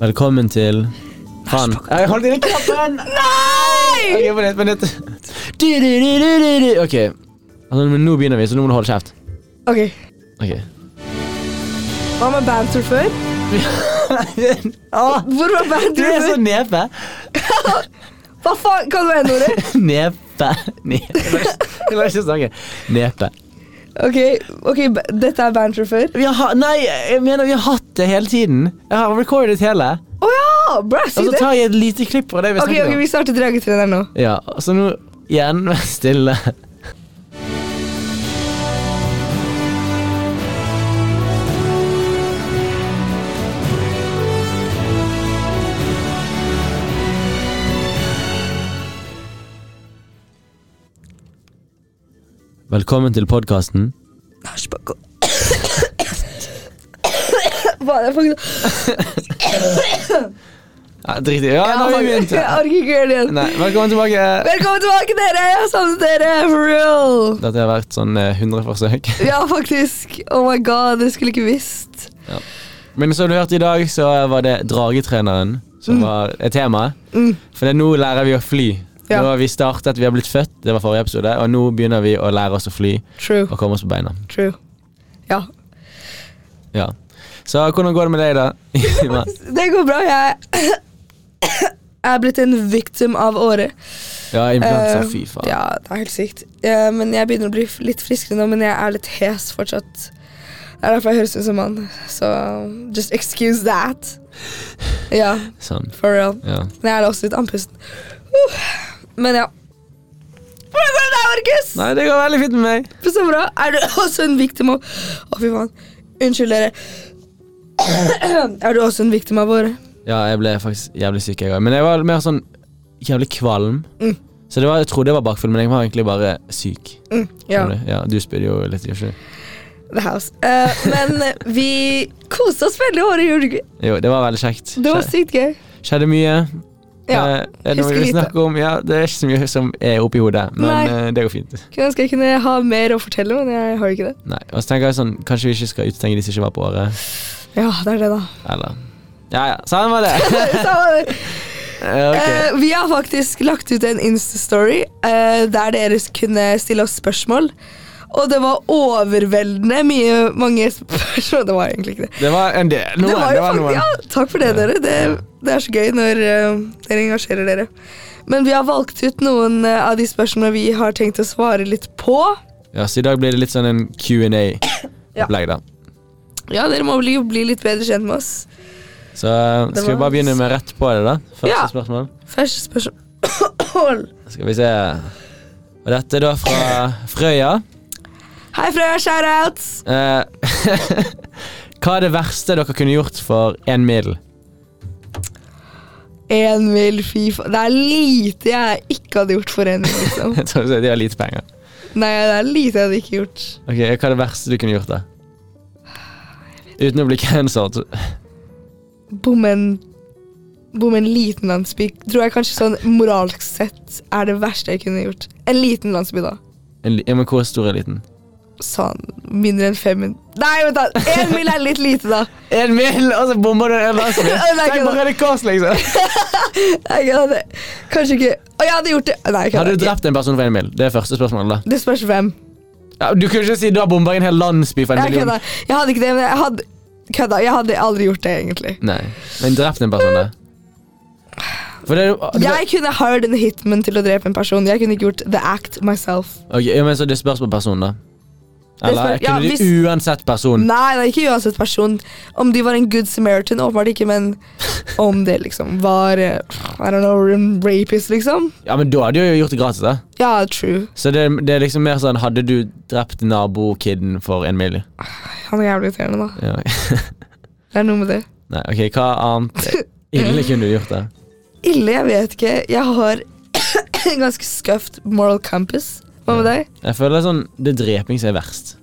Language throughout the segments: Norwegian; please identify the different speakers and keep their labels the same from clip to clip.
Speaker 1: Velkommen til Faen. Jeg holdt inn i knappen!
Speaker 2: Nei!
Speaker 1: Ok, vent et minutt. Du-du-du-du-du-du. Ok. Altså, men nå begynner vi, så nå må du holde kjeft.
Speaker 2: Ok.
Speaker 1: Ok.
Speaker 2: Hva med banter før?
Speaker 1: Ah,
Speaker 2: Hvor var
Speaker 1: du
Speaker 2: banter
Speaker 1: er sånn- så
Speaker 2: før?
Speaker 1: nepe.
Speaker 2: Hva faen? Kan du n-ordet?
Speaker 1: Nepe. Nepe. Jeg klarer ikke å snakke. Nepe.
Speaker 2: Ok, ok, ba- dette er banter før.
Speaker 1: Vi har, nei, jeg mener vi har hatt det hele tiden. Jeg har recordet hele.
Speaker 2: Å ja! Bra, si
Speaker 1: Og så
Speaker 2: det.
Speaker 1: tar Altså, jeg et lite klipp fra det vi
Speaker 2: Ok,
Speaker 1: snakket
Speaker 2: ok,
Speaker 1: om.
Speaker 2: vi starter dragetreneren nå.
Speaker 1: Ja, så nå igjen vær stille. Velkommen til podkasten.
Speaker 2: Æsj, bare gå. Hva er det for noe?
Speaker 1: Ja, drit i Ja,
Speaker 2: Jeg
Speaker 1: nå har vi begynt.
Speaker 2: orker jeg orker ikke gjøre det igjen.
Speaker 1: Nei, velkommen tilbake.
Speaker 2: Velkommen tilbake, dere! Jeg har savnet dere! For real!
Speaker 1: Dette har vært sånn eh, 100 forsøk.
Speaker 2: Ja, faktisk. Oh my god, dere skulle ikke visst.
Speaker 1: Men som du hørte i dag, så var det dragetreneren som var et tema.
Speaker 2: Mm.
Speaker 1: For det er nå lærer vi å fly.
Speaker 2: Ja.
Speaker 1: Nå har vi startet, vi har blitt født, det var forrige episode, og nå begynner vi å lære oss å fly
Speaker 2: True.
Speaker 1: og komme oss på beina.
Speaker 2: True. Ja.
Speaker 1: Ja. Så hvordan går det med deg, da? Ima?
Speaker 2: Det går bra. Jeg Jeg er blitt en victim av året.
Speaker 1: ja,
Speaker 2: Eh,
Speaker 1: implanser, altså fy faen.
Speaker 2: Ja, det er helt sykt. Eh, men jeg begynner å bli f- litt friskere nå, men jeg er litt hes fortsatt. Det er derfor jeg høres ut som han. Så just excuse that. Ja,
Speaker 1: Sånn.
Speaker 2: for real.
Speaker 1: Ja.
Speaker 2: Men jeg er også litt andpusten. Uh, Men ja. Hvordan går det med deg, Markus?
Speaker 1: Nei, det går veldig fint med meg.
Speaker 2: Så bra. Er du også en victim av Å, fy faen. Unnskyld, dere. er du også en victim av året?
Speaker 1: Ja, jeg ble faktisk jævlig syk, jeg òg. Men jeg var mer sånn jævlig kvalm.
Speaker 2: Mm.
Speaker 1: Så det var, jeg trodde jeg var bakfull, men jeg var egentlig bare syk.
Speaker 2: Mm, ja.
Speaker 1: Skjønner du? ja du spydde jo litt, gjorde du ikke?
Speaker 2: The House. Eh, men vi koste oss veldig i året, gjorde vi ikke?
Speaker 1: det? Jo, det var veldig kjekt.
Speaker 2: Det var sykt gøy.
Speaker 1: Skjedde mye.
Speaker 2: Ja,
Speaker 1: Eh, er det noe
Speaker 2: husker
Speaker 1: vi
Speaker 2: lite.
Speaker 1: snakker om? Ja, det er ikke så mye som er oppi hodet, men
Speaker 2: Nei.
Speaker 1: eh, det går fint.
Speaker 2: Kunne ønske jeg kunne ha mer å fortelle, men jeg har jo ikke det.
Speaker 1: Nei, og så tenker jeg sånn, Kanskje vi ikke skal utestenge de som ikke var på året.
Speaker 2: Ja, det er det, da.
Speaker 1: Eller Ja ja, sånn var det.
Speaker 2: Så,
Speaker 1: Eh, ok.
Speaker 2: eh, vi har faktisk lagt ut en Insta-story eh, der dere kunne stille oss spørsmål. Og det var overveldende mye mange spørsmål. Det var egentlig ikke det.
Speaker 1: Det var en del. Noen.
Speaker 2: det var jo
Speaker 1: noen.
Speaker 2: faktisk, ja, takk for det,
Speaker 1: Ja.
Speaker 2: dere. Det, det er så gøy når eh, dere engasjerer dere. Men vi har valgt ut noen eh, av de spørsmålene vi har tenkt å svare litt på.
Speaker 1: Ja, Så i dag blir det litt sånn en Q&A-opplegg, da.
Speaker 2: Ja, dere må bli, bli litt bedre kjent med oss.
Speaker 1: Så eh,
Speaker 2: Det
Speaker 1: skal vi
Speaker 2: var-
Speaker 1: bare begynne med rett på det, da. Første
Speaker 2: Ja.
Speaker 1: spørsmål.
Speaker 2: Første spørsmål.
Speaker 1: Skal vi se. Og dette er da fra Frøya.
Speaker 2: Hei, Frøya. Shoutouts.
Speaker 1: Eh, Hva er det verste dere kunne gjort for én middel?
Speaker 2: Én mil, fy faen. Det er lite jeg ikke hadde gjort for én mil, liksom.
Speaker 1: Jeg tror de har lite penger.
Speaker 2: Nei, det er lite jeg hadde ikke gjort.
Speaker 1: Ok, Hva er det verste du kunne gjort, da? Uten å bli cancelled.
Speaker 2: Bomme en Bomme en liten landsby tror jeg kanskje sånn moralsk sett er det verste jeg kunne gjort. En liten landsby, da.
Speaker 1: En li- Ja, men hvor stor er liten?
Speaker 2: Sånn mindre enn fem min... Nei, vent, da! Én mil er litt lite, da.
Speaker 1: En mil, og så bomber du en landsby!
Speaker 2: Nei, det er ikke
Speaker 1: Tenk på
Speaker 2: det.
Speaker 1: Røde Kors, liksom!
Speaker 2: Nei, Jeg hadde kanskje ikke Å, jeg hadde gjort det! Nei, jeg
Speaker 1: Hadde
Speaker 2: hadde
Speaker 1: du drept en person for en mil? Det er første spørsmålet. da
Speaker 2: Det spørs hvem.
Speaker 1: ja, Du kunne ikke si da bomber jeg en hel landsby for en
Speaker 2: Jeg
Speaker 1: million.
Speaker 2: kødda. Jeg hadde ikke det, men jeg hadde Kødda. Jeg hadde aldri gjort det, egentlig.
Speaker 1: Nei, Men drept en person, da? For det, er jo- ah, du,
Speaker 2: Jeg kunne hired en hitman til å drepe en person. Jeg kunne ikke gjort the act myself.
Speaker 1: Ok, ja, men Så det spørs på personen, da?
Speaker 2: er
Speaker 1: Eller
Speaker 2: spørs- ja,
Speaker 1: kunne du
Speaker 2: hvis-
Speaker 1: uansett person?
Speaker 2: Nei, det er ikke uansett person. Om de var en good samaritan, åpenbart ikke, men om det liksom var eh, I don't know, en rapist, liksom.
Speaker 1: Ja, men Da hadde du jo gjort det gratis. da
Speaker 2: Ja, true.
Speaker 1: Så det, det er liksom mer sånn Hadde du drept nabokiden for en mil?
Speaker 2: Han er jævlig irriterende, da.
Speaker 1: Ja.
Speaker 2: Det er noe med det.
Speaker 1: Nei, ok, hva annet ille kunne du gjort da?
Speaker 2: Ille, jeg vet ikke. Jeg har en ganske skuffed moral compass. Hva med deg?
Speaker 1: Jeg føler sånn, det er dreping som er verst.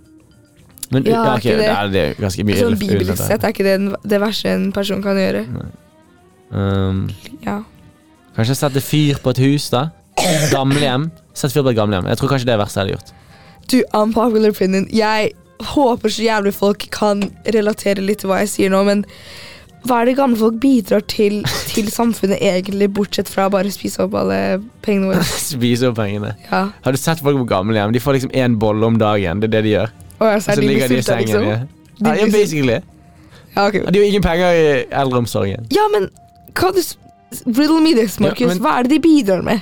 Speaker 1: Men ja,
Speaker 2: Ja,
Speaker 1: ok,
Speaker 2: ikke det.
Speaker 1: det. er- det er ganske mye
Speaker 2: Sånn
Speaker 1: ille- ille
Speaker 2: bibelsk
Speaker 1: der.
Speaker 2: sett er ikke det den- det verste en person kan gjøre.
Speaker 1: Um,
Speaker 2: Ja.
Speaker 1: kanskje sette fyr på et hus da? Gamlehjem. Sette fyr på et gamlehjem. Jeg tror kanskje det er verst jeg hadde gjort.
Speaker 2: Du, unpopular opinion. Jeg håper så jævlig folk kan relatere litt til hva jeg sier nå, men hva er det gamle folk bidrar til til samfunnet egentlig, bortsett fra å bare spise opp alle pengene våre?
Speaker 1: Spise opp pengene.
Speaker 2: Ja.
Speaker 1: Har du sett folk på gamlehjem? De får liksom én bolle om dagen. Det er det de gjør.
Speaker 2: Og
Speaker 1: Og
Speaker 2: altså, er
Speaker 1: så
Speaker 2: de
Speaker 1: ligger de i
Speaker 2: besulta,
Speaker 1: sengen.
Speaker 2: liksom?
Speaker 1: ja.
Speaker 2: De
Speaker 1: Ja, ja,
Speaker 2: blir sulta.
Speaker 1: basically.
Speaker 2: Ja, ok.
Speaker 1: Ja, Det er jo ingen penger i eldreomsorgen.
Speaker 2: ja, men kan du s- Riddle me this,
Speaker 1: Ja,
Speaker 2: Markus.
Speaker 1: men-
Speaker 2: Hva er det de bidrar med?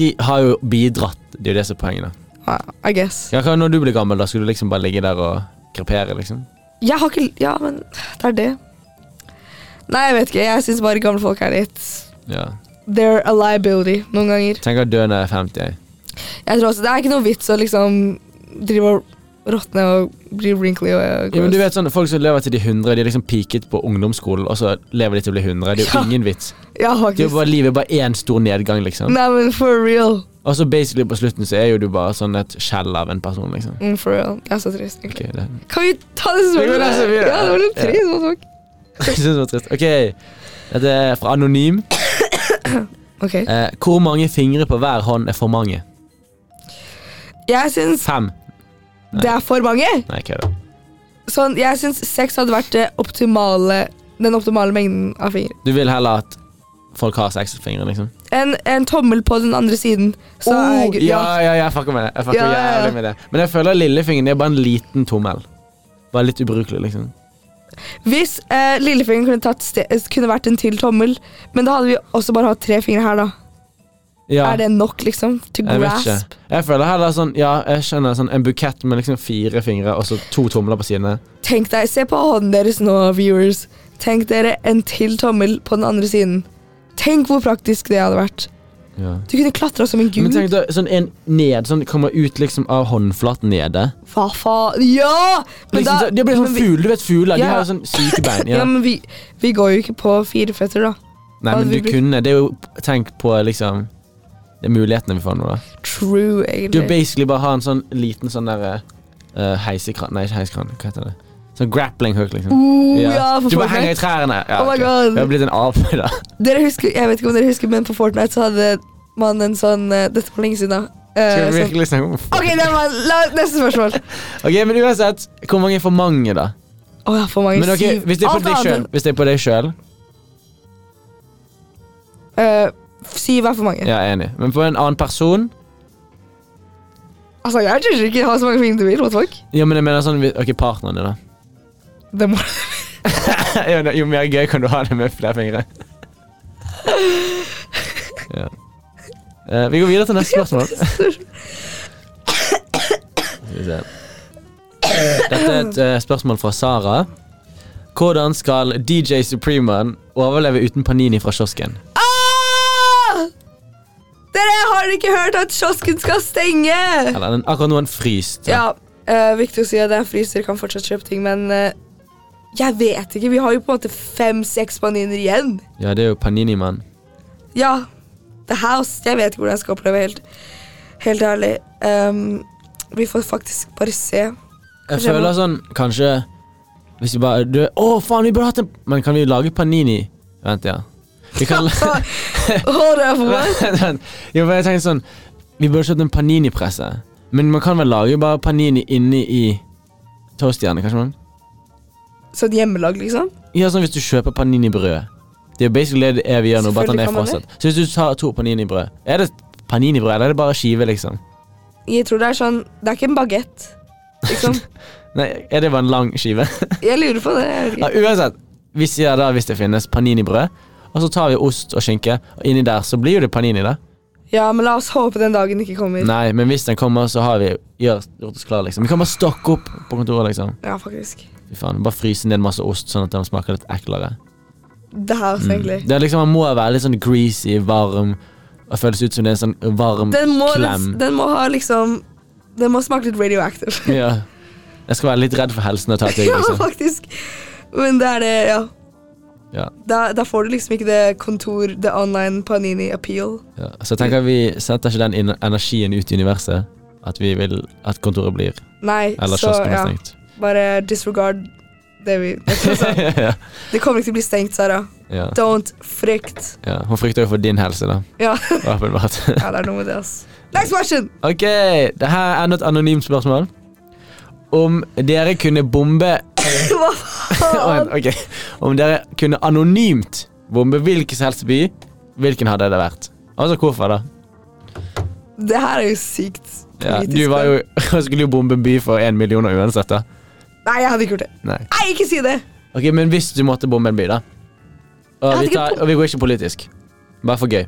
Speaker 1: De har jo bidratt. Det er jo det som er poenget. da.
Speaker 2: Ja, I guess.
Speaker 1: Ja, hva Når du blir gammel, da skal du liksom bare ligge der og krepere, liksom?
Speaker 2: Jeg har ikke Ja, men det er det. Nei, jeg vet ikke. Jeg syns bare gamle folk er litt
Speaker 1: Ja.
Speaker 2: They're a liability noen ganger.
Speaker 1: Tenker å dø når jeg er 50. jeg.
Speaker 2: Jeg tror også Det er ikke noe vits å liksom drive og råtne og bli wrinkly og
Speaker 1: Ja, men du vet sånn, Folk som lever til de er 100, de er liksom peaket på ungdomsskolen, og så lever de til å bli 100. Det er jo
Speaker 2: Ja.
Speaker 1: ingen vits.
Speaker 2: Ja,
Speaker 1: Det er
Speaker 2: faktisk.
Speaker 1: jo bare Livet er bare én stor nedgang, liksom.
Speaker 2: Nei, men for real.
Speaker 1: Og så basically på slutten så er jo du bare sånn et skjell av en person, liksom.
Speaker 2: Mm, for real. Det er så trist. egentlig.
Speaker 1: Ok, det
Speaker 2: Kan vi ta det
Speaker 1: Vi går nesten
Speaker 2: spørsmålet?
Speaker 1: videre.
Speaker 2: Ja, det var litt
Speaker 1: Ja.
Speaker 2: trist. hva fuck?
Speaker 1: Jeg synes det var trist. Ok, dette er fra Anonym.
Speaker 2: Ok.
Speaker 1: Eh, hvor mange fingre på hver hånd er for mange?
Speaker 2: Jeg syns
Speaker 1: Fem? Nei.
Speaker 2: det er for mange.
Speaker 1: Nei, kødda.
Speaker 2: Sånn, jeg syns seks hadde vært det optimale, den optimale mengden av fingre.
Speaker 1: Du vil heller at folk har seks fingre, liksom?
Speaker 2: En, en tommel på den andre siden. Så er
Speaker 1: Oh,
Speaker 2: jeg,
Speaker 1: ja, ja, ja, jeg fucker med det. Jeg fucker
Speaker 2: Ja, ja, ja.
Speaker 1: jævlig med det. Men jeg føler lillefingeren er bare en liten tommel. Bare litt ubrukelig, liksom.
Speaker 2: Hvis eh, lillefingeren kunne, tatt ste eh, kunne vært en til tommel, men da hadde vi også bare hatt tre fingre her, da.
Speaker 1: Ja,
Speaker 2: Er det nok, liksom? To
Speaker 1: jeg vet
Speaker 2: grasp?
Speaker 1: ikke. Jeg føler heller sånn, ja, jeg skjønner sånn en bukett med liksom fire fingre og så to tomler på sidene.
Speaker 2: Tenk deg, Se på hånden deres nå, viewers. Tenk dere en til tommel på den andre siden. Tenk hvor praktisk det hadde vært.
Speaker 1: Ja.
Speaker 2: Du kunne klatra som en
Speaker 1: Men
Speaker 2: gud.
Speaker 1: tenk da, sånn en ned, sånn kommer ut liksom av håndflaten nede.
Speaker 2: Hva faen? Ja! Men
Speaker 1: Liksom,
Speaker 2: da,
Speaker 1: så- det blir sånn
Speaker 2: men vi,
Speaker 1: fugl, du vet fugler,
Speaker 2: Ja.
Speaker 1: de har jo sånn syke bein.
Speaker 2: ja.
Speaker 1: Ja.
Speaker 2: men vi, vi går jo ikke på fire føtter, da.
Speaker 1: Nei, men
Speaker 2: hadde
Speaker 1: du
Speaker 2: vi blitt-
Speaker 1: kunne, det er jo, tenk på liksom, det er mulighetene vi får nå da.
Speaker 2: True,
Speaker 1: Du
Speaker 2: egentlig.
Speaker 1: basically bare har en sånn liten sånn der eh, heisekran, nei ikke heisekran, hva heter det? Sånn grappling hook liksom.
Speaker 2: Oh, ja. for
Speaker 1: du bare henger i
Speaker 2: Fortnite.
Speaker 1: trærne. Ja,
Speaker 2: Oh my
Speaker 1: ok.
Speaker 2: God.
Speaker 1: Jeg har blitt en ape da.
Speaker 2: Dere husker, jeg vet ikke om dere husker, men på Fortnite så hadde man en sånn eh, Dette var lenge siden, da. Eh,
Speaker 1: Skal vi
Speaker 2: sånn-
Speaker 1: virkelig snakke om
Speaker 2: Ok, det var, la, neste spørsmål.
Speaker 1: Ok, men uansett, hvor mange er for mange, da?
Speaker 2: Å, jeg har for mange
Speaker 1: Men ok,
Speaker 2: syv.
Speaker 1: Hvis det er på
Speaker 2: Alt
Speaker 1: deg
Speaker 2: annet
Speaker 1: sjøl, hvis det er på deg selv,
Speaker 2: enn- eh, syv er for mange.
Speaker 1: ja, jeg er enig. Men på en annen person
Speaker 2: Altså, Jeg tror ikke jeg har så mange fingre du vil. What the fuck?
Speaker 1: Ja, men jeg mener sånn hvis- Ok, partneren din, da.
Speaker 2: Det må
Speaker 1: Jo, ne- jo mer gøy kan du ha det med flere fingre. ja. Eh, vi går videre til neste spørsmål. Skal vi se. Dette er et eh, spørsmål fra Sara. Hvordan skal DJ Supremaen overleve uten Panini fra kiosken?
Speaker 2: ah! Dere har ikke hørt at kiosken skal stenge!
Speaker 1: Eller den, akkurat nå er den fryst.
Speaker 2: Ja, eh, viktig å si at det er fryser, kan fortsatt kjøpe ting, men eh, jeg vet ikke. Vi har jo på en måte fem-seks paniner igjen.
Speaker 1: Ja, det er jo Panini-mann.
Speaker 2: Ja, The House. Jeg vet ikke hvordan jeg skal oppleve helt, helt ærlig. Ehm, vi får faktisk bare se.
Speaker 1: Jeg
Speaker 2: Kanskje jeg
Speaker 1: føler
Speaker 2: må-
Speaker 1: sånn, kanskje Hvis vi bare du, Å, faen, vi burde hatt en Men kan vi lage panini? Vent, ja. Vi kan
Speaker 2: Hold up, what?
Speaker 1: Vent, vent. Jo, for jeg tenkte sånn Vi burde kjøpt en panini-presse. Men man kan vel lage bare panini inni i toastjernet, kanskje? man?
Speaker 2: Sånn hjemmelag, liksom?
Speaker 1: Ja, sånn hvis du kjøper panini-brød. Det er jo basically det det er vi gjør nå, bare at den
Speaker 2: Selvfølgelig
Speaker 1: er
Speaker 2: kan man det.
Speaker 1: frosset. Så hvis du tar to panini-brød Er det panini-brød, eller er det bare skive, liksom?
Speaker 2: Jeg tror det er sånn Det er ikke en bagett. Liksom.
Speaker 1: Nei, er det bare en lang skive?
Speaker 2: Jeg lurer på det. Jeg vet
Speaker 1: Ja,
Speaker 2: ikke.
Speaker 1: uansett, vi sier da hvis det finnes panini-brød, og så tar vi ost og skinke, og inni der så blir jo det panini, da.
Speaker 2: Ja, men la oss håpe den dagen ikke kommer.
Speaker 1: Nei, men hvis den kommer, så har vi gjør- gjort oss klar, liksom. Vi kan bare stokke opp på kontoret, liksom.
Speaker 2: Ja, faktisk.
Speaker 1: Fy faen, Bare fryse ned masse ost, sånn at den smaker litt eklere.
Speaker 2: The House, egentlig.
Speaker 1: Det er liksom, Man må være litt sånn greasy, varm, og føles ut som det er en sånn varm
Speaker 2: Den må,
Speaker 1: klem.
Speaker 2: den må ha liksom Den må smake litt radioactive.
Speaker 1: Ja. Jeg skal være litt redd for helsen og ta ting,
Speaker 2: Ja,
Speaker 1: liksom.
Speaker 2: faktisk. Men det er det, ja.
Speaker 1: Ja.
Speaker 2: Da, da får du liksom ikke det kontor, det online panini appeal.
Speaker 1: Ja. Så jeg tenker vi setter ikke den in- energien ut i universet, at vi vil at kontoret blir,
Speaker 2: Nei,
Speaker 1: eller
Speaker 2: så
Speaker 1: kiosken blir
Speaker 2: ja,
Speaker 1: stengt.
Speaker 2: bare disregard det vi
Speaker 1: ja.
Speaker 2: Det kommer ikke til å bli stengt, Sara.
Speaker 1: Ja.
Speaker 2: Don't frykt.
Speaker 1: Ja, hun frykter jo for din helse, da.
Speaker 2: Ja,
Speaker 1: Åpenbart.
Speaker 2: ja det er noe med det, ass. Next question!
Speaker 1: ok, det her er enda et anonymt spørsmål. Om dere kunne bombe
Speaker 2: Hva
Speaker 1: Og
Speaker 2: faen?
Speaker 1: en- ok. Om dere kunne anonymt bombe hvilken som helst by, hvilken hadde det vært? Altså, hvorfor da?
Speaker 2: Det her er jo sykt
Speaker 1: Ja,
Speaker 2: politisk,
Speaker 1: du var jo, skulle jo bombe en by for én million uansett, da.
Speaker 2: Nei, jeg hadde ikke gjort det.
Speaker 1: Nei.
Speaker 2: Nei, ikke si det!
Speaker 1: Ok, Men hvis du måtte bombe en by, da? Og
Speaker 2: hadde
Speaker 1: vi,
Speaker 2: ikke
Speaker 1: tar,
Speaker 2: bom-
Speaker 1: og vi går ikke politisk. Bare for gøy.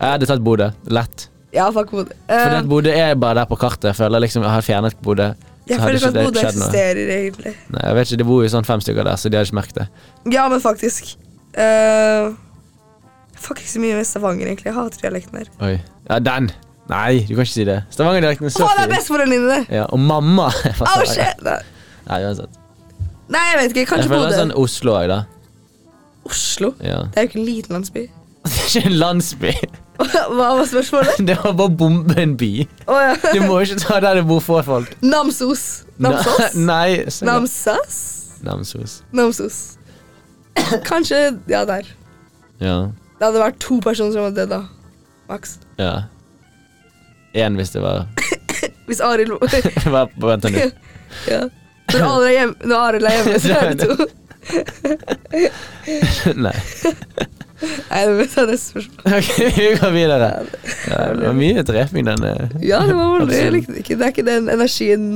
Speaker 1: Jeg hadde tatt Bodø. Lett.
Speaker 2: Ja, fuck Bodø.
Speaker 1: Fordi at
Speaker 2: Eh,
Speaker 1: Bodø er bare der på kartet. Jeg føler liksom, jeg har fjernet Bodø.
Speaker 2: jeg
Speaker 1: så hadde
Speaker 2: føler ikke
Speaker 1: ikke
Speaker 2: at
Speaker 1: det
Speaker 2: Bodø
Speaker 1: skjedd noe.
Speaker 2: eksisterer, egentlig.
Speaker 1: Nei, jeg vet ikke, Det bor jo sånn fem stykker der, så de hadde ikke merket det.
Speaker 2: Ja, men faktisk. Eh, jeg fucker ikke så mye med Stavanger, egentlig. Jeg hater dialekten der.
Speaker 1: Oi. Ja, den! Nei, du kan ikke si det. Stavanger-dialekten er så
Speaker 2: Faen, det er
Speaker 1: fin.
Speaker 2: besteforeldrene dine!
Speaker 1: Ja, og mamma!
Speaker 2: Au, shit! Nei.
Speaker 1: Nei, uansett.
Speaker 2: Nei, jeg vet ikke.
Speaker 1: Jeg
Speaker 2: Kanskje
Speaker 1: føler det
Speaker 2: Bodø.
Speaker 1: er sånn Oslo òg, da.
Speaker 2: Oslo?
Speaker 1: Ja.
Speaker 2: Det er jo ikke en liten landsby.
Speaker 1: Det er ikke en landsby.
Speaker 2: Hva var spørsmålet?
Speaker 1: Det var bare å bombe en by.
Speaker 2: Å ja.
Speaker 1: Du må ikke ta der det bor få folk.
Speaker 2: Namsos. Namsos?
Speaker 1: Nei. så-
Speaker 2: Namsas?
Speaker 1: Namsos.
Speaker 2: Namsos. Kanskje Ja, der.
Speaker 1: Ja.
Speaker 2: Det hadde vært to personer som hadde dødd, da. Maks.
Speaker 1: Ja. Én hvis det var
Speaker 2: Hvis Arild
Speaker 1: Vent vent nå.
Speaker 2: ja. Når Arild er hjemme, når Arild er hjemme, så er det to.
Speaker 1: Nei.
Speaker 2: Nei, det vet jeg neste spørsmål.
Speaker 1: Ok, vi går videre. Ja, det var mye dreping denne.
Speaker 2: Ja, det var veldig Jeg
Speaker 1: Absolutt.
Speaker 2: likte det ikke. Det er ikke den energien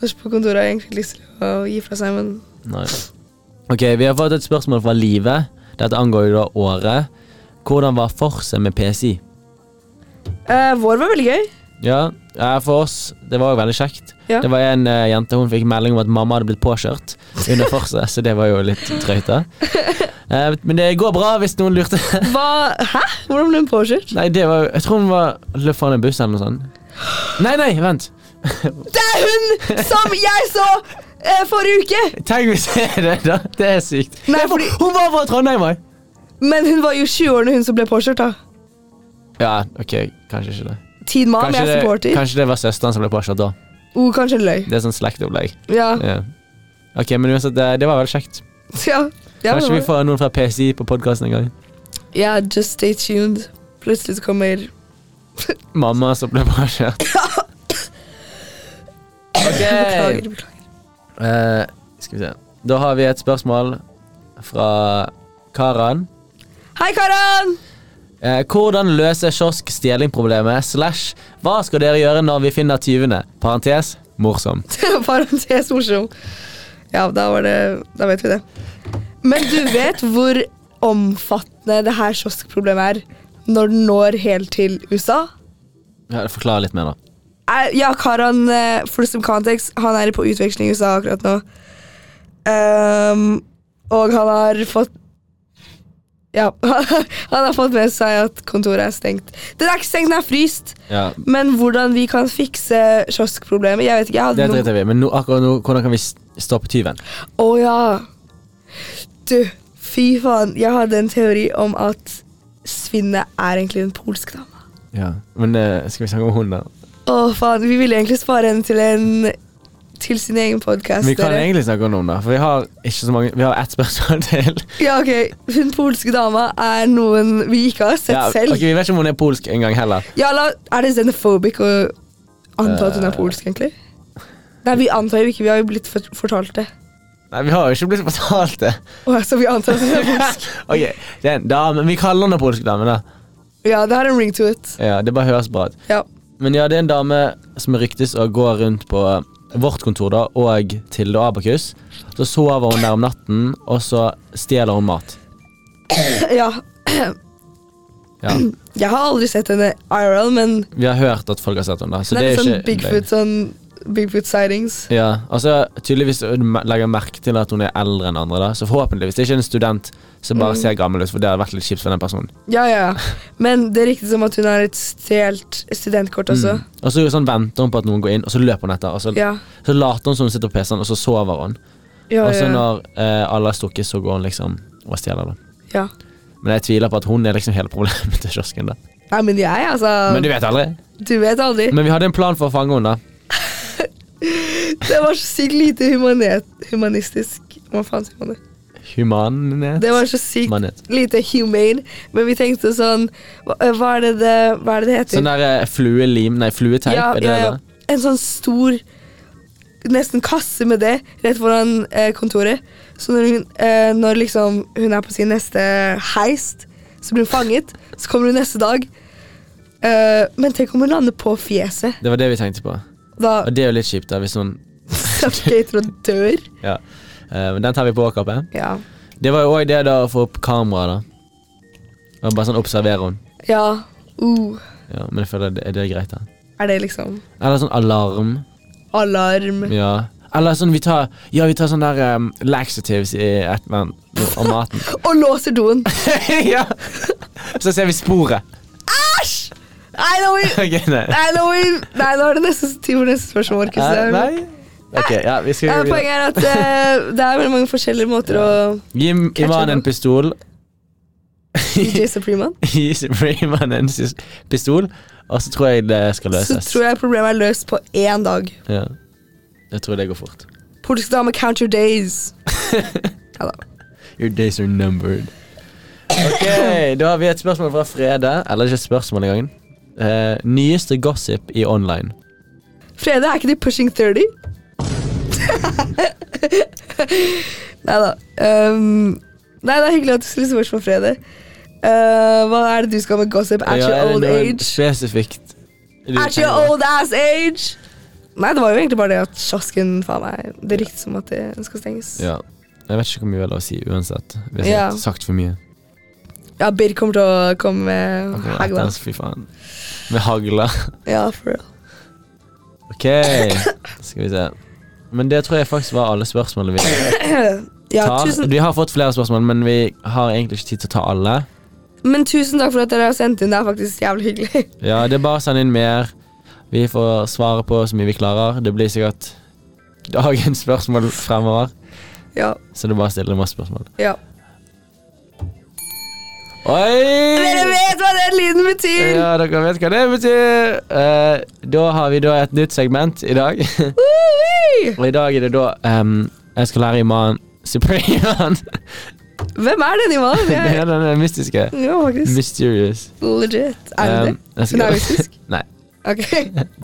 Speaker 2: norsk på kontoret har egentlig lyst til å gi fra seg, men
Speaker 1: Nei. Ok, vi har fått et spørsmål fra Live. Dette angår jo da året. Hvordan var forset med PSI?
Speaker 2: Eh, Vår var veldig gøy.
Speaker 1: Ja, eh, for oss, det var jo veldig kjekt.
Speaker 2: Ja.
Speaker 1: Det var en eh, jente, hun fikk melding om at mamma hadde blitt påkjørt under forset, så det var jo litt drøyt da. Eh, men det går bra hvis noen lurte.
Speaker 2: Hva? Hæ? Hvordan ble hun påkjørt?
Speaker 1: Nei, det var jo, jeg tror hun var løp foran en buss eller noe sånt. Nei, nei, vent.
Speaker 2: Det er hun som jeg så eh, forrige uke!
Speaker 1: Tenk hvis det er det da, det er sykt.
Speaker 2: Nei,
Speaker 1: Det er for-
Speaker 2: fordi-
Speaker 1: Hun var fra Trondheim, var
Speaker 2: Men hun var jo 20 år når hun som ble påkjørt, da.
Speaker 1: Ja, ok, kanskje ikke det.
Speaker 2: Teen mom,
Speaker 1: Kanskje
Speaker 2: jeg er
Speaker 1: det,
Speaker 2: supporter.
Speaker 1: kanskje det var søsteren som ble påkjørt da.
Speaker 2: Oh, kanskje hun løy.
Speaker 1: Det er sånn slektopplegg.
Speaker 2: Ja.
Speaker 1: Ja. Ok, men uansett, det, det var veldig kjekt.
Speaker 2: ja. ja
Speaker 1: Kanskje
Speaker 2: men-
Speaker 1: vi får noen fra PSI på podkasten en gang.
Speaker 2: Ja, just stay tuned. Plutselig så kommer
Speaker 1: Mamma som ble påkjørt.
Speaker 2: Beklager,
Speaker 1: Ok.
Speaker 2: beklager.
Speaker 1: Eh, skal vi se. Da har vi et spørsmål fra Karan.
Speaker 2: Hei, Karan!
Speaker 1: Eh, hvordan løse kiosk-stjeling-problemet slash hva skal dere gjøre når vi finner tyvene? Parentes morsom.
Speaker 2: Parentes morsom. Ja, da var det Da vet vi det. Men du vet hvor omfattende det her kioskproblemet er når den når helt til USA?
Speaker 1: Ja, Forklar litt mer, da.
Speaker 2: Eh, Ja, Karan, eh, for some context, han er på utveksling i USA akkurat nå. Ehm, og han har fått Ja, han har fått med seg at kontoret er stengt. Den er ikke stengt, den er fryst.
Speaker 1: Ja,
Speaker 2: Men hvordan vi kan fikse kioskproblemet Jeg vet ikke, jeg hadde
Speaker 1: det
Speaker 2: noen-
Speaker 1: driter vi i, men nå, akkurat nå, hvordan kan vi s- stoppe tyven?
Speaker 2: Å ja. Du, fy faen. Jeg hadde en teori om at Svinne er egentlig en polsk dame.
Speaker 1: Ja, Men eh, skal vi snakke om hunden?
Speaker 2: Å faen, Vi ville egentlig spare henne til en til sin egen podkast.
Speaker 1: Vi kan egentlig snakke om noen, da. For vi har ikke så mange Vi har ett spørsmål til.
Speaker 2: Ja, ok. Hun polske dama er noen vi ikke har sett
Speaker 1: Ja,
Speaker 2: selv.
Speaker 1: ok, Vi vet ikke om hun er polsk engang heller.
Speaker 2: Ja, la, Er det xenophobic å anta at hun
Speaker 1: Eh.
Speaker 2: er polsk, egentlig? Nei, vi antar jo ikke. Vi har jo blitt fort- fortalt det.
Speaker 1: Nei, Vi har jo ikke blitt fortalt det.
Speaker 2: Å, så vi antar at hun er polsk.
Speaker 1: ok, Det er en dame. Vi kaller henne polsk dame, da.
Speaker 2: Ja, det har en ring to it.
Speaker 1: Ja, Det bare høres bra ut.
Speaker 2: Ja.
Speaker 1: Men ja, det er en dame som ryktes å gå rundt på eh, vårt kontor da, og Tilde og Abakus. Så sover hun der om natten, og så stjeler hun mat.
Speaker 2: ja.
Speaker 1: Ja,
Speaker 2: Jeg har aldri sett henne IRL, men
Speaker 1: Vi har hørt at folk har sett henne. da, Så
Speaker 2: det er litt sånn
Speaker 1: ikke
Speaker 2: Bigfoot, sånn Bigfoot sightings.
Speaker 1: Ja, altså tydeligvis hun legger merke til at hun er eldre enn andre, da. Så forhåpentligvis det er ikke en student som
Speaker 2: Mm.
Speaker 1: bare ser gammel ut, for det hadde vært litt kjipt for den personen.
Speaker 2: Ja, ja. Men det ryktes om at hun har et stjålet studentkort også.
Speaker 1: Og så sånn venter hun på at noen går inn, og så løper hun etter. Og så,
Speaker 2: Ja.
Speaker 1: så later hun som hun sitter på PC-en, og så sover hun.
Speaker 2: Ja,
Speaker 1: Og så
Speaker 2: ja, ja.
Speaker 1: når eh, alle har stukket, så går hun liksom og stjeler det.
Speaker 2: ja.
Speaker 1: Men jeg tviler på at hun er liksom hele problemet til kiosken. da
Speaker 2: Nei, men jeg, altså.
Speaker 1: Men du vet aldri.
Speaker 2: du vet aldri.
Speaker 1: Men vi hadde en plan for å fange henne, da.
Speaker 2: Det var så sykt lite humanet, humanistisk. Hva faen sier man det?
Speaker 1: Humanet.
Speaker 2: Det var så sykt
Speaker 1: Manet.
Speaker 2: lite humane, men vi tenkte sånn Hva, hva, er, det det, hva er det det heter?
Speaker 1: Sånn der eh, fluelim Nei, flueteip,
Speaker 2: ja,
Speaker 1: er det
Speaker 2: ja, ja.
Speaker 1: det?
Speaker 2: En sånn stor nesten kasse med det rett foran eh, kontoret. Så når hun, eh, når liksom hun er på sin neste heist, så blir hun fanget. Så kommer hun neste dag. Eh, men tenk om hun lander på fjeset.
Speaker 1: Det var det vi tenkte på.
Speaker 2: Da
Speaker 1: Og det er jo litt kjipt, da, hvis noen
Speaker 2: suffocater og dør.
Speaker 1: Ja. Eh, Men den tar vi på åkappet.
Speaker 2: Ja.
Speaker 1: Det var jo òg det da å få opp kamera, da. Og bare sånn observere henne.
Speaker 2: ja. Uh,
Speaker 1: Ja, men jeg føler det, det er greit, da.
Speaker 2: er det liksom
Speaker 1: Eller sånn alarm.
Speaker 2: alarm?
Speaker 1: Ja. Eller sånn vi tar Ja, vi tar sånn der um, laxatives i ettervern av maten.
Speaker 2: Og låser doen.
Speaker 1: ja. Så ser vi sporet.
Speaker 2: Nei, nå må vi
Speaker 1: Ok, nei.
Speaker 2: Nei, nå, må vi- nei, nå er det nesten tid for neste spørsmål. Markus. Det
Speaker 1: Eh,
Speaker 2: er-
Speaker 1: nei? Ok, ja, vi skal
Speaker 2: Ja,
Speaker 1: gå
Speaker 2: men poenget
Speaker 1: videre.
Speaker 2: er at eh, det er veldig mange forskjellige måter å
Speaker 1: Gi Iman en pistol.
Speaker 2: DJ Supreman.
Speaker 1: Gi Rayman en sis- pistol, og så tror jeg det skal
Speaker 2: Så
Speaker 1: løses.
Speaker 2: tror jeg problemet er løst på én dag.
Speaker 1: Ja. Jeg tror det går fort.
Speaker 2: Politisk dame, count your days. Ja da.
Speaker 1: Your days are numbered. Ok, Da har vi et spørsmål fra Frede. Eller ikke et spørsmål engang. Eh, nyeste gossip i online.
Speaker 2: Fredag er ikke de pushing 30? nei da. Um, nei, det er hyggelig at du stiller spørsmål på fredag. Eh, hva er det du skal med gossip? At
Speaker 1: Ja, er
Speaker 2: your
Speaker 1: det
Speaker 2: old
Speaker 1: noe
Speaker 2: age?
Speaker 1: Spesifikt. du
Speaker 2: At your
Speaker 1: tenker på?
Speaker 2: old ass age? Nei, det var jo egentlig bare det at kiosken faen meg, Det ryktes om at det skal stenges.
Speaker 1: Ja. Jeg vet ikke hvor mye vi har lov å si uansett. Vi har
Speaker 2: Ja.
Speaker 1: sagt for mye.
Speaker 2: Ja, Birk kommer til å komme med
Speaker 1: Ok,
Speaker 2: hagla.
Speaker 1: Atlas, Fy faen. Med hagla.
Speaker 2: Ja, for real.
Speaker 1: Ok, skal vi se. Men det tror jeg faktisk var alle spørsmålene vi
Speaker 2: Ja,
Speaker 1: tar.
Speaker 2: tusen,
Speaker 1: Vi har fått flere spørsmål, men vi har egentlig ikke tid til å ta alle.
Speaker 2: men tusen takk for at dere har sendt inn. Det er faktisk jævlig hyggelig.
Speaker 1: Ja, det er bare å sende inn mer. Vi får svare på så mye vi klarer. Det blir sikkert dagens spørsmål fremover.
Speaker 2: Ja,
Speaker 1: Så det er bare å stille masse spørsmål.
Speaker 2: ja. Dere
Speaker 1: Oi!
Speaker 2: vet hva den lyden betyr!
Speaker 1: Ja, dere vet hva det betyr. Eh, da har vi da et nytt segment i dag.
Speaker 2: Ui!
Speaker 1: Og i dag er det da ehm, Jeg skal lære Iman Supreman.
Speaker 2: Hvem er den Ivan?
Speaker 1: Det
Speaker 2: Jeg-
Speaker 1: er den mystiske.
Speaker 2: Ja, faktisk.
Speaker 1: Mysterious.
Speaker 2: Legit. Er det det?
Speaker 1: Um, jeg skal-
Speaker 2: Hun er mystisk?
Speaker 1: Nei.
Speaker 2: Ok.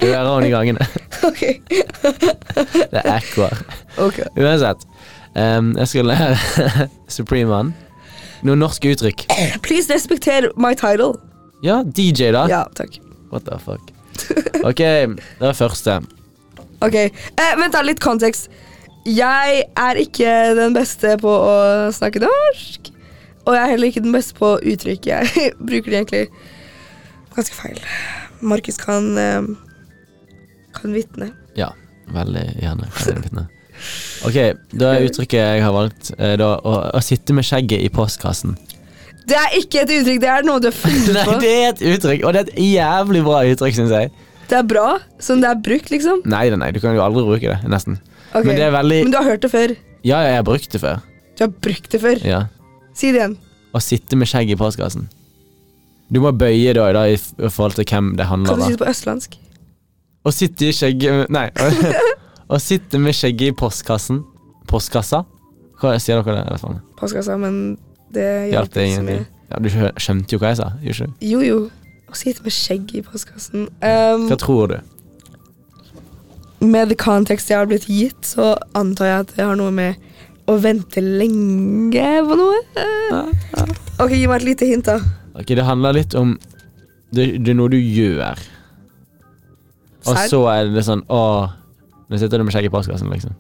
Speaker 1: Du hører henne i gangene.
Speaker 2: ok.
Speaker 1: Det er ekkoer.
Speaker 2: Ok.
Speaker 1: Uansett. Um, jeg skal lære Supreman noen norske uttrykk.
Speaker 2: Please respekter my title.
Speaker 1: Ja, DJ, da.
Speaker 2: Ja, takk.
Speaker 1: What the fuck. Ok, det var første.
Speaker 2: Ok, eh, Vent, da. Litt kontekst. Jeg er ikke den beste på å snakke norsk. Og jeg er heller ikke den beste på uttrykk. Jeg bruker det egentlig ganske feil. Markus kan eh, kan vitne.
Speaker 1: Ja, veldig gjerne. kan jeg vitne. Ok, da er uttrykket jeg har valgt, eh, da, å, å sitte med skjegget i postkassen.
Speaker 2: Det er ikke et uttrykk, det er noe du har funnet
Speaker 1: Nei,
Speaker 2: på.
Speaker 1: det er et uttrykk, og det er et jævlig bra uttrykk, syns jeg.
Speaker 2: Det er bra, sånn det er brukt, liksom.
Speaker 1: Nei, nei, nei, du kan jo aldri bruke det, nesten.
Speaker 2: Ok,
Speaker 1: Men det er veldig
Speaker 2: Men du har hørt det før.
Speaker 1: Ja, ja, jeg har brukt det før.
Speaker 2: Du har brukt det før.
Speaker 1: Ja.
Speaker 2: Si det igjen.
Speaker 1: Å sitte med skjegg i postkassen. Du må bøye da, da i f- i forhold til hvem det handler
Speaker 2: Kan du
Speaker 1: om.
Speaker 2: si det på østlandsk?
Speaker 1: Å sitte i skjegget Nei. Å sitte med skjegget i postkassen. Postkassa? Hva sier dere det? Jeg vet faen.
Speaker 2: Postkassa, men det
Speaker 1: Hjalp det
Speaker 2: ikke så
Speaker 1: ingenting?
Speaker 2: mye.
Speaker 1: Ja, du skjø- skjønte jo hva jeg sa? gjorde ikke du?
Speaker 2: Jo, jo. Å sitte med skjegg i postkassen. Um,
Speaker 1: Hva tror du?
Speaker 2: med det kontekst jeg har blitt gitt, så antar jeg at det har noe med å vente lenge på noe. Eh, Ok, gi meg et lite hint, da.
Speaker 1: Ok, Det handler litt om Det, det er noe du gjør. Og
Speaker 2: Serr?
Speaker 1: så er det sånn Å, nå sitter du med skjegget i postkassen, liksom.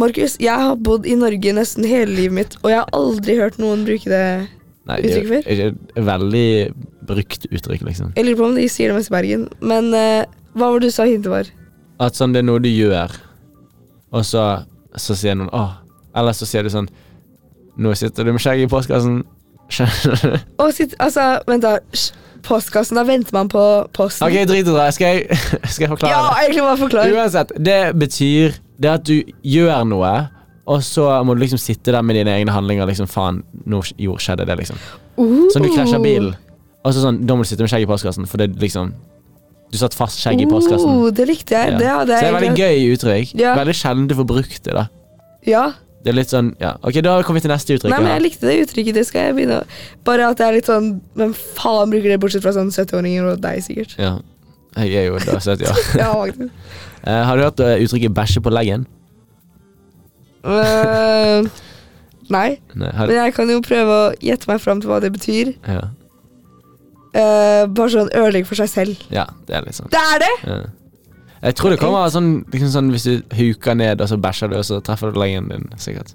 Speaker 2: Markus, jeg har bodd i Norge nesten hele livet mitt, og jeg har aldri hørt noen bruke det.
Speaker 1: Nei, det er jo-
Speaker 2: Uttrykk
Speaker 1: det er et veldig brukt uttrykk, liksom.
Speaker 2: Jeg lurer på om de sier det mest i Bergen, men eh, hva var det du sa hintet var?
Speaker 1: At sånn, det er noe du gjør, og så, så sier noen åh. Eller så sier du sånn Nå sitter du med skjegget i postkassen. Skjønner du?
Speaker 2: Å, sitt, altså, vent da. Sj, Postkassen, da venter man på posten.
Speaker 1: Ok, drit i det. Skal jeg, skal jeg
Speaker 2: ja,
Speaker 1: forklare
Speaker 2: egentlig bare
Speaker 1: det?
Speaker 2: forklar.
Speaker 1: Uansett, det betyr det at du gjør noe, og så må du liksom sitte der med dine egne handlinger. liksom, faen, nå sk- jo, skjedde det liksom.
Speaker 2: Uh.
Speaker 1: Sånn, du krasjer bilen, og så sånn, da må du sitte med skjegg i postkassen, for det er liksom Du satt fast skjegg i postkassen.
Speaker 2: Uh, det likte jeg.
Speaker 1: Ja.
Speaker 2: Det hadde
Speaker 1: så det
Speaker 2: jeg
Speaker 1: er veldig
Speaker 2: egentlig-
Speaker 1: gøy uttrykk.
Speaker 2: Ja.
Speaker 1: Veldig sjelden du får brukt det, da.
Speaker 2: Ja.
Speaker 1: Det er litt sånn, ja. Ok, da kommer vi til neste uttrykk.
Speaker 2: Nei, men
Speaker 1: da.
Speaker 2: jeg likte det uttrykket. Det skal jeg begynne å Bare at det er litt sånn Hvem faen bruker det, bortsett fra sånn 70-åringer og deg, sikkert.
Speaker 1: Ja. Jeg er jo da 70 år.
Speaker 2: Ja, faktisk.
Speaker 1: Eh, har du hørt eh, uttrykket 'bæsje på leggen'?
Speaker 2: Eh, nei,
Speaker 1: Nei, har,
Speaker 2: men jeg kan jo prøve å gjette meg fram til hva det betyr.
Speaker 1: ja.
Speaker 2: Eh, bare sånn ødelegge for seg selv.
Speaker 1: ja, det er litt sånn.
Speaker 2: Det er det!
Speaker 1: Ja. Jeg tror det kommer av sånn, liksom sånn hvis du huker ned, og så bæsjer du, og så treffer du leggen din. sikkert.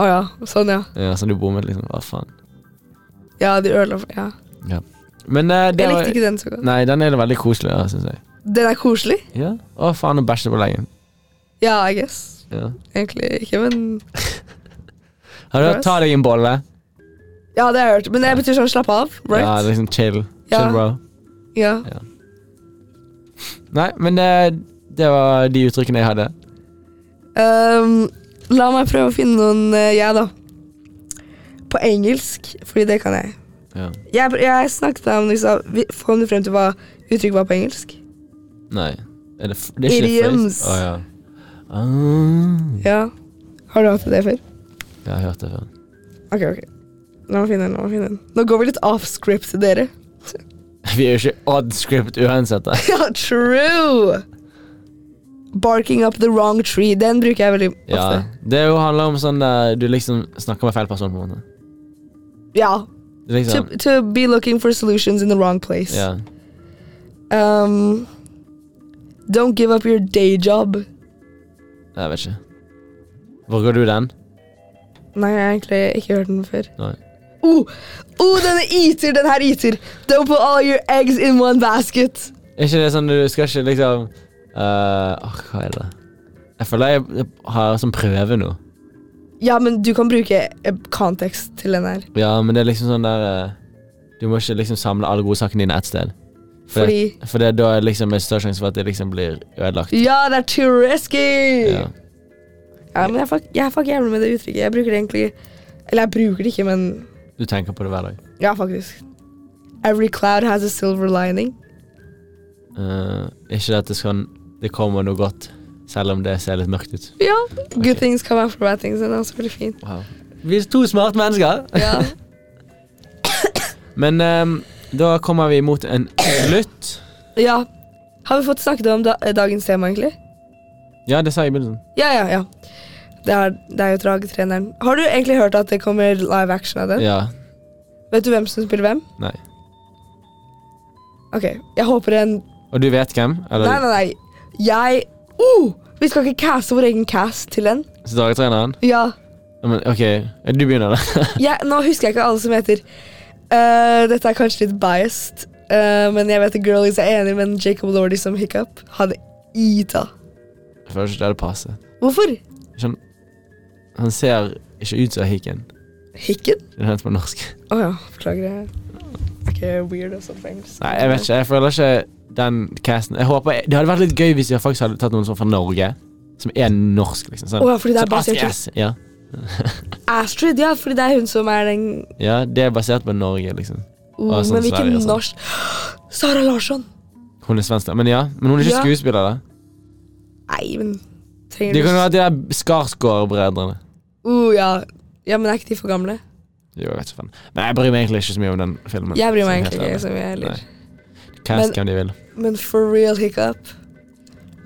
Speaker 2: Å ja, sånn ja.
Speaker 1: Ja, sånn du bommet, liksom. Hva faen.
Speaker 2: Ja, de ødela for ja.
Speaker 1: Men eh, det
Speaker 2: Jeg
Speaker 1: var
Speaker 2: likte ikke sånn. den så godt.
Speaker 1: Nei, den er det veldig koselig, da, syns jeg.
Speaker 2: Den er koselig.
Speaker 1: Ja. Å, faen, å bæsje på leggen.
Speaker 2: Ja, I guess.
Speaker 1: Ja.
Speaker 2: Egentlig ikke, men
Speaker 1: Har du hørt 'ta deg en bolle'?
Speaker 2: Ja, det har jeg hørt. Men det betyr sånn slapp av,
Speaker 1: Ja,
Speaker 2: right?
Speaker 1: liksom chill.
Speaker 2: Ja.
Speaker 1: Chill, bro.
Speaker 2: Ja.
Speaker 1: Nei, men eh, det var de uttrykkene jeg hadde.
Speaker 2: Ehm, la meg prøve å finne noen eh, jeg, da. På engelsk, fordi det kan jeg.
Speaker 1: Ja.
Speaker 2: Jeg, pr- jeg snakket om liksom, vi- Kom du frem til hva uttrykket var på engelsk?
Speaker 1: Nei. Er det, f- det er ikke
Speaker 2: Idioms.
Speaker 1: phrase- Å, ja. Ah,
Speaker 2: Ja. Har du hatt det før?
Speaker 1: jeg har hørt det før.
Speaker 2: Ok, ok. La meg finne en. la meg finne en. Nå går vi litt off script til dere.
Speaker 1: Vi er jo ikke odd script uansett. da.
Speaker 2: ja, true! Barking up the wrong tree. Den bruker jeg veldig
Speaker 1: Ja,
Speaker 2: ofte.
Speaker 1: det er jo handler om sånn der du liksom snakker med feil person, på en måte.
Speaker 2: Ja.
Speaker 1: Det er liksom,
Speaker 2: To, to be looking for solutions in the wrong place.
Speaker 1: ja.
Speaker 2: Um, don't give up your day job.
Speaker 1: Jeg vet ikke. Hvor går du den?
Speaker 2: Nei, jeg har egentlig ikke hørt den før.
Speaker 1: Nei.
Speaker 2: Oh, oh denne eater, den her eater. Don't put all your eggs in one basket.
Speaker 1: Er ikke det sånn du skal ikke liksom eh, åh, Hva er det? Jeg føler jeg jeg har sånn prøve nå.
Speaker 2: Ja, men du kan bruke eh, kontekst til den her.
Speaker 1: Ja, men det er liksom sånn der eh, Du må ikke liksom samle alle godsakene dine ett sted. For det-
Speaker 2: Fordi
Speaker 1: For det, da er liksom en større sjanse for at det liksom blir ødelagt.
Speaker 2: Ja, det er too risky!
Speaker 1: Ja.
Speaker 2: Ja, men jeg fuck, jeg fuck jævlig med det uttrykket. Jeg bruker det egentlig Eller jeg bruker det ikke, men
Speaker 1: Du tenker på det hver dag.
Speaker 2: ja, faktisk. Every cloud has a silver lining.
Speaker 1: Eh, ikke at det, skal, det kommer noe godt, selv om det ser litt mørkt ut.
Speaker 2: Ja. Good
Speaker 1: Ok.
Speaker 2: things come out for bad things. Den er også veldig fin.
Speaker 1: Vi er to smarte mennesker.
Speaker 2: Ja.
Speaker 1: Men ehm, da kommer vi mot en slutt.
Speaker 2: ja. Har vi fått snakket om da, eh, dagens tema, egentlig?
Speaker 1: Ja, det sa jeg i begynnelsen.
Speaker 2: Ja, ja, ja. Det er, det er jo dragetreneren. Har du egentlig hørt at det kommer live action av den?
Speaker 1: Ja.
Speaker 2: Vet du hvem som spiller hvem?
Speaker 1: Nei.
Speaker 2: Ok, jeg håper en
Speaker 1: Og du vet hvem? Eller
Speaker 2: Nei, nei, nei. Jeg oh, Vi skal ikke caste vår egen cast til den.
Speaker 1: Så dagetreneren?
Speaker 2: Ja.
Speaker 1: Ja, Men, ok, ja, du begynner, da.
Speaker 2: Jeg, nå husker jeg ikke alle som heter Eh, Dette er kanskje litt biased, eh, men jeg vet at Girlies er enig, men Jacob Lordy som hiccup hadde Ida.
Speaker 1: Jeg føler ikke det hadde passet.
Speaker 2: Hvorfor?
Speaker 1: Sånn, han ser ikke ut som hikken.
Speaker 2: Hikken?
Speaker 1: Det er helt på norsk.
Speaker 2: Å ja, beklager. Jeg er ikke weird og sånn på engelsk.
Speaker 1: Nei, jeg vet ikke. Jeg føler ikke den casten Jeg håper, Det hadde vært litt gøy hvis de faktisk hadde tatt noen som er fra Norge. Som er norsk, liksom. Sånn.
Speaker 2: Å ja, fordi det
Speaker 1: Som
Speaker 2: er
Speaker 1: Ask
Speaker 2: basert-
Speaker 1: S, ja.
Speaker 2: Astrid, ja, fordi det er hun som er den
Speaker 1: ja, det er basert på Norge, liksom.
Speaker 2: oh,
Speaker 1: Ah, sånn
Speaker 2: Men hvilken
Speaker 1: Sverige og sånn.
Speaker 2: norsk Sara Larsson!
Speaker 1: Hun er svensk, da. Men ja, men hun er ikke
Speaker 2: Ja.
Speaker 1: skuespiller, da.
Speaker 2: Nei, men
Speaker 1: De
Speaker 2: trenger
Speaker 1: kan jo være de der Skarsgård-brødrene.
Speaker 2: Oh, ja. ja, men er ikke de for gamle?
Speaker 1: Jo, jeg vet ikke faen. Men jeg bryr meg egentlig ikke så mye om den filmen.
Speaker 2: Jeg bryr meg
Speaker 1: som
Speaker 2: egentlig ikke.
Speaker 1: heter det.
Speaker 2: Som jeg heller.
Speaker 1: Nei. Cast
Speaker 2: Men-
Speaker 1: hvem de vil.
Speaker 2: Men for real hiccup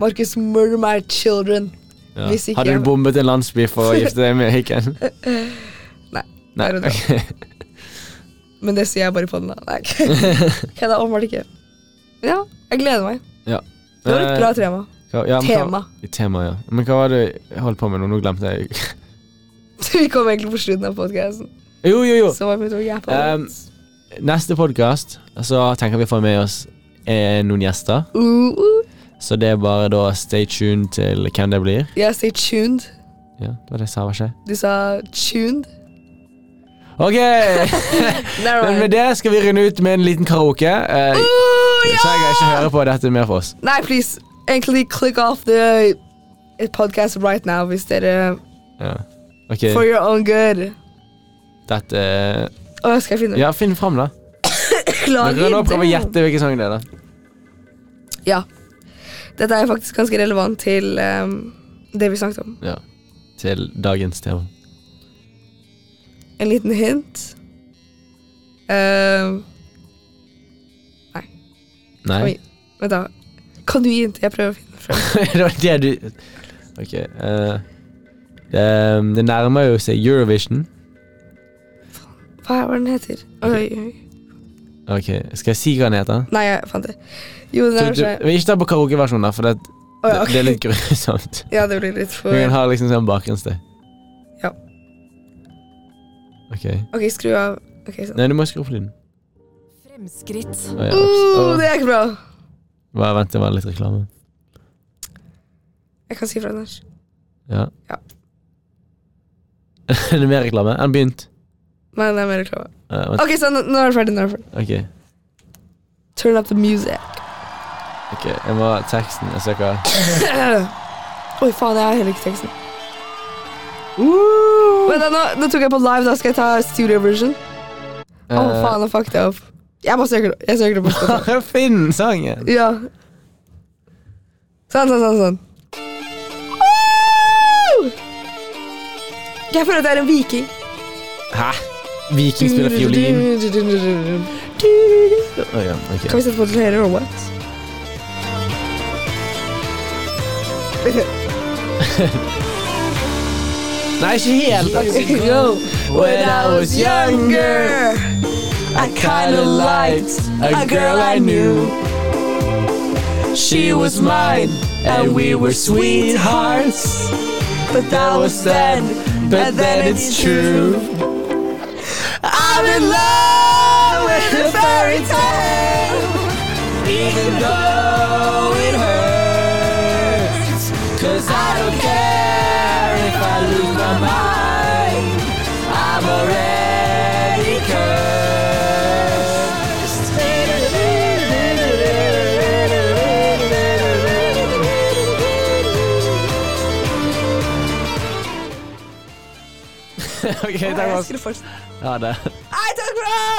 Speaker 2: Marcus murder my children.
Speaker 1: Ja.
Speaker 2: Hvis ikke
Speaker 1: Hadde
Speaker 2: jeg-
Speaker 1: du bombet en landsby for å gifte deg med Hikken?
Speaker 2: Nei,
Speaker 1: Nei.
Speaker 2: det er Men det sier jeg bare på den, da. Nei, okay, det er åpenbart ikke. Men ja, jeg gleder meg. Det var et bra tema.
Speaker 1: Eh, ja, men hva-
Speaker 2: Tema.
Speaker 1: Tema, ja. Men hva var det jeg holdt på med nå? Nå glemte jeg
Speaker 2: Vi kom egentlig på slutten av podkasten.
Speaker 1: Jo, jo, jo.
Speaker 2: Så var vi to jappa
Speaker 1: Um, Neste podkast så tenker vi å få med oss eh, noen gjester.
Speaker 2: uh, uh.
Speaker 1: Så det er bare da stay tuned til hvem det blir.
Speaker 2: Jeg sier tuned.
Speaker 1: Ja, det var det jeg sa, var ikke jeg?
Speaker 2: Du sa tuned.
Speaker 1: OK!
Speaker 2: Never
Speaker 1: Men med
Speaker 2: mind.
Speaker 1: det skal vi runde ut med en liten karaoke. Eh,
Speaker 2: Uh, ja!
Speaker 1: Så jeg kan ikke høre på dette mer for oss.
Speaker 2: Nei, please. Egentlig click off the eh, podcast right now hvis dere
Speaker 1: Ja. OK,
Speaker 2: For your own good.
Speaker 1: dette eh,
Speaker 2: Å, jeg skal finne
Speaker 1: Ja, finn fram, da. Dere
Speaker 2: Beklager.
Speaker 1: kan nå prøve å
Speaker 2: det-
Speaker 1: gjette hvilken sang det er, da.
Speaker 2: Ja. Dette er faktisk ganske relevant til ehm, det vi snakket om.
Speaker 1: Ja. Til dagens tema.
Speaker 2: En liten hint. Ehm,
Speaker 1: Nei?
Speaker 2: Oi. Vent, da. Kanuint. Jeg prøver å finne frem.
Speaker 1: det var det du Ok. eh, det, det nærmer jo seg Eurovision.
Speaker 2: Hva er hva den heter? Oi, oi.
Speaker 1: Ok, Skal jeg si hva den heter?
Speaker 2: Nei, jeg fant det. Jo, det
Speaker 1: Du,
Speaker 2: er
Speaker 1: du,
Speaker 2: seg.
Speaker 1: men ikke ta på karaokeversjonen, da, for det,
Speaker 2: Å,
Speaker 1: det,
Speaker 2: ja,
Speaker 1: det er
Speaker 2: ok.
Speaker 1: litt grusomt.
Speaker 2: ja, det blir litt
Speaker 1: Du
Speaker 2: for
Speaker 1: kan ha liksom sånn bakgrunnsstøy.
Speaker 2: Ja.
Speaker 1: Ok.
Speaker 2: Ok, skru av. Ok, sånn.
Speaker 1: Nei, du må skru opp lyden.
Speaker 3: Fremskritt.
Speaker 1: Å, ja,
Speaker 2: Uh,
Speaker 1: ups. Å,
Speaker 2: det er ikke bra.
Speaker 1: hva- Vent, det var litt reklame.
Speaker 2: Jeg kan si fra Anders.
Speaker 1: Ja.
Speaker 2: Ja.
Speaker 1: er det mer reklame? Han begynt.
Speaker 2: Nei, det er mer reklame.
Speaker 1: Eh, vent.
Speaker 2: Ok, sånn. Nå er det ferdig. nå er det ferdig.
Speaker 1: Ok.
Speaker 2: Turn up the music.
Speaker 1: ok, jeg må ha teksten. Jeg ser hva
Speaker 2: Oi, faen, jeg har heller ikke teksten. Men da, nå, nå tok jeg på live, da skal jeg ta studio version. Å,
Speaker 1: Eh,
Speaker 2: faen, nå fucket jeg opp. Jeg bare søker det. Jeg søker det på Spotify.
Speaker 1: Bare finn sangen!
Speaker 2: Ja. Sånn, sånn, sånn. sånn. Woo! Jeg føler at jeg er en viking.
Speaker 1: Hæ? Viking spiller fiolin.
Speaker 2: Kan
Speaker 1: Å, ja, ok.
Speaker 2: vi sette på til hele Robot?
Speaker 1: Nei, ikke helt.
Speaker 2: Yo,
Speaker 1: When I was younger, I kinda liked a girl I knew. She was mine, and we were sweethearts.
Speaker 2: but
Speaker 1: That was then, but then it's true. I'm in love with a fairy tale, even though it hurts. Cause I don't care if I lose my mind, I'm already cursed.
Speaker 2: Jeg skulle fortsette.
Speaker 1: Ha det.
Speaker 2: Nei, takk for det!